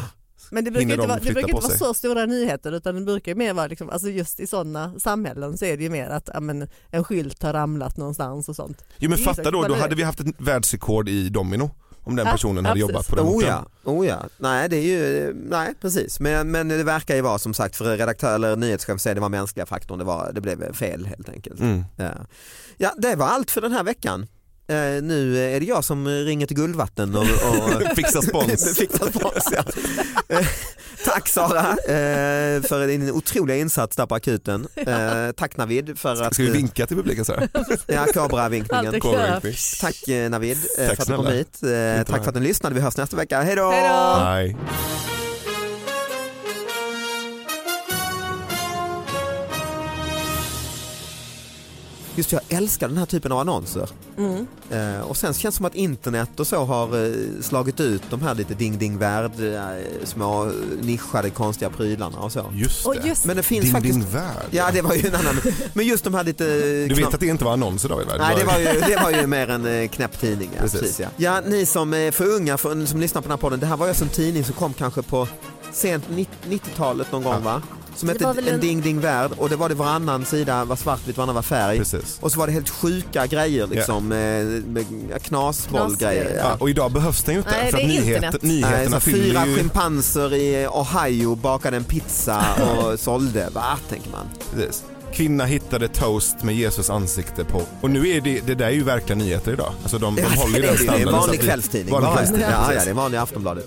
Speaker 4: men det brukar
Speaker 5: hinner
Speaker 4: inte
Speaker 5: de
Speaker 4: vara, det
Speaker 5: flytta
Speaker 4: brukar
Speaker 5: på
Speaker 4: inte vara
Speaker 5: sig?
Speaker 4: så stora nyheter utan det brukar ju mer vara liksom, alltså just i sådana samhällen så är det ju mer att ja, men, en skylt har ramlat någonstans och sånt.
Speaker 5: Jo men
Speaker 4: Det är
Speaker 5: fatta
Speaker 4: exakt
Speaker 5: då,
Speaker 4: vad
Speaker 5: då
Speaker 4: det är.
Speaker 5: hade vi haft ett världsrekord i domino. Om den
Speaker 4: Ja,
Speaker 5: personen
Speaker 4: ja,
Speaker 5: hade
Speaker 4: precis.
Speaker 5: jobbat på den
Speaker 3: Oh
Speaker 5: orten.
Speaker 3: ja, oh ja, nej det är ju, nej precis. Men, men det verkar ju vara som sagt för redaktör eller nyhetschef säger det var mänskliga faktorn, det, var, det blev fel helt enkelt.
Speaker 5: Mm.
Speaker 3: Ja. ja det var allt för den här veckan. Eh, nu är det jag som ringer till Guldvatten och, och
Speaker 5: Fixa spons.
Speaker 3: fixar spons. Ja. Eh, Tack Sara eh, för din otroliga insats där på akuten. Eh, Tack Navid för att
Speaker 5: Ska vi vinka till publiken så här?
Speaker 3: Ja, Kobra-vinkningen.
Speaker 4: Alltid
Speaker 5: Kommer
Speaker 4: kul.
Speaker 5: vi vinka?
Speaker 3: Tack eh, Navid eh,
Speaker 5: Tack
Speaker 3: för att du kom
Speaker 5: snälla.
Speaker 3: hit. Eh, Tack för att ni lyssnade. Vi hörs nästa vecka. Hej då!
Speaker 4: Hej då!
Speaker 5: Nej.
Speaker 3: Just det, jag älskar den här typen av annonser.
Speaker 4: Mm.
Speaker 3: Eh, och sen känns det som att internet och så har eh, slagit ut de här lite ding ding värld, eh, små eh, nischade konstiga prylarna och så.
Speaker 5: Just
Speaker 4: Och
Speaker 5: det.
Speaker 4: just
Speaker 3: Men det finns
Speaker 5: Din,
Speaker 3: faktiskt...
Speaker 5: din värld.
Speaker 3: Ja det var ju en annan. Men just de här lite...
Speaker 5: Du vet att det inte var annonser då i världen?
Speaker 3: Nej det var, ju, det var ju mer en eh, knäpp tidning. Ja, precis.
Speaker 5: Precis.
Speaker 3: ja. ja ni som är för unga för, som lyssnar på den här podden, det här var ju alltså en tidning som kom kanske på sent 90-talet någon gång
Speaker 5: Ja.
Speaker 3: va? Som
Speaker 4: Det
Speaker 3: hette
Speaker 4: var väl
Speaker 3: en...
Speaker 4: en-
Speaker 3: ding ding värld och det var det varannan sida var svartvitt, varannan var färg.
Speaker 5: Precis.
Speaker 3: Och så var det helt sjuka grejer liksom. Yeah. Med knasbollgrejer.
Speaker 4: Knasgrejer.
Speaker 5: Ja,
Speaker 3: Ja.
Speaker 5: och idag behövs den ju inte.
Speaker 4: Nej,
Speaker 5: för att
Speaker 4: det är
Speaker 5: nyheter,
Speaker 4: internet.
Speaker 3: Nej, så
Speaker 5: nyheterna
Speaker 3: fyra
Speaker 5: fyller ju...
Speaker 3: schimpanser i Ohio bakade en pizza och sålde. Va, tänker man.
Speaker 5: Precis. Kvinna hittade toast med Jesus ansikte på. Och nu är det, det där är ju verkliga nyheter idag. Alltså de, de
Speaker 3: Ja,
Speaker 5: håller ju
Speaker 3: det är
Speaker 5: den
Speaker 3: ju det. Det är en
Speaker 5: standarden. så
Speaker 3: vanlig
Speaker 5: att vi-
Speaker 3: kvällstidning.
Speaker 5: Vanlig
Speaker 3: bara.
Speaker 5: kvällstidning.
Speaker 3: Ja, ja,
Speaker 5: precis.
Speaker 3: det är vanliga Aftonbladet.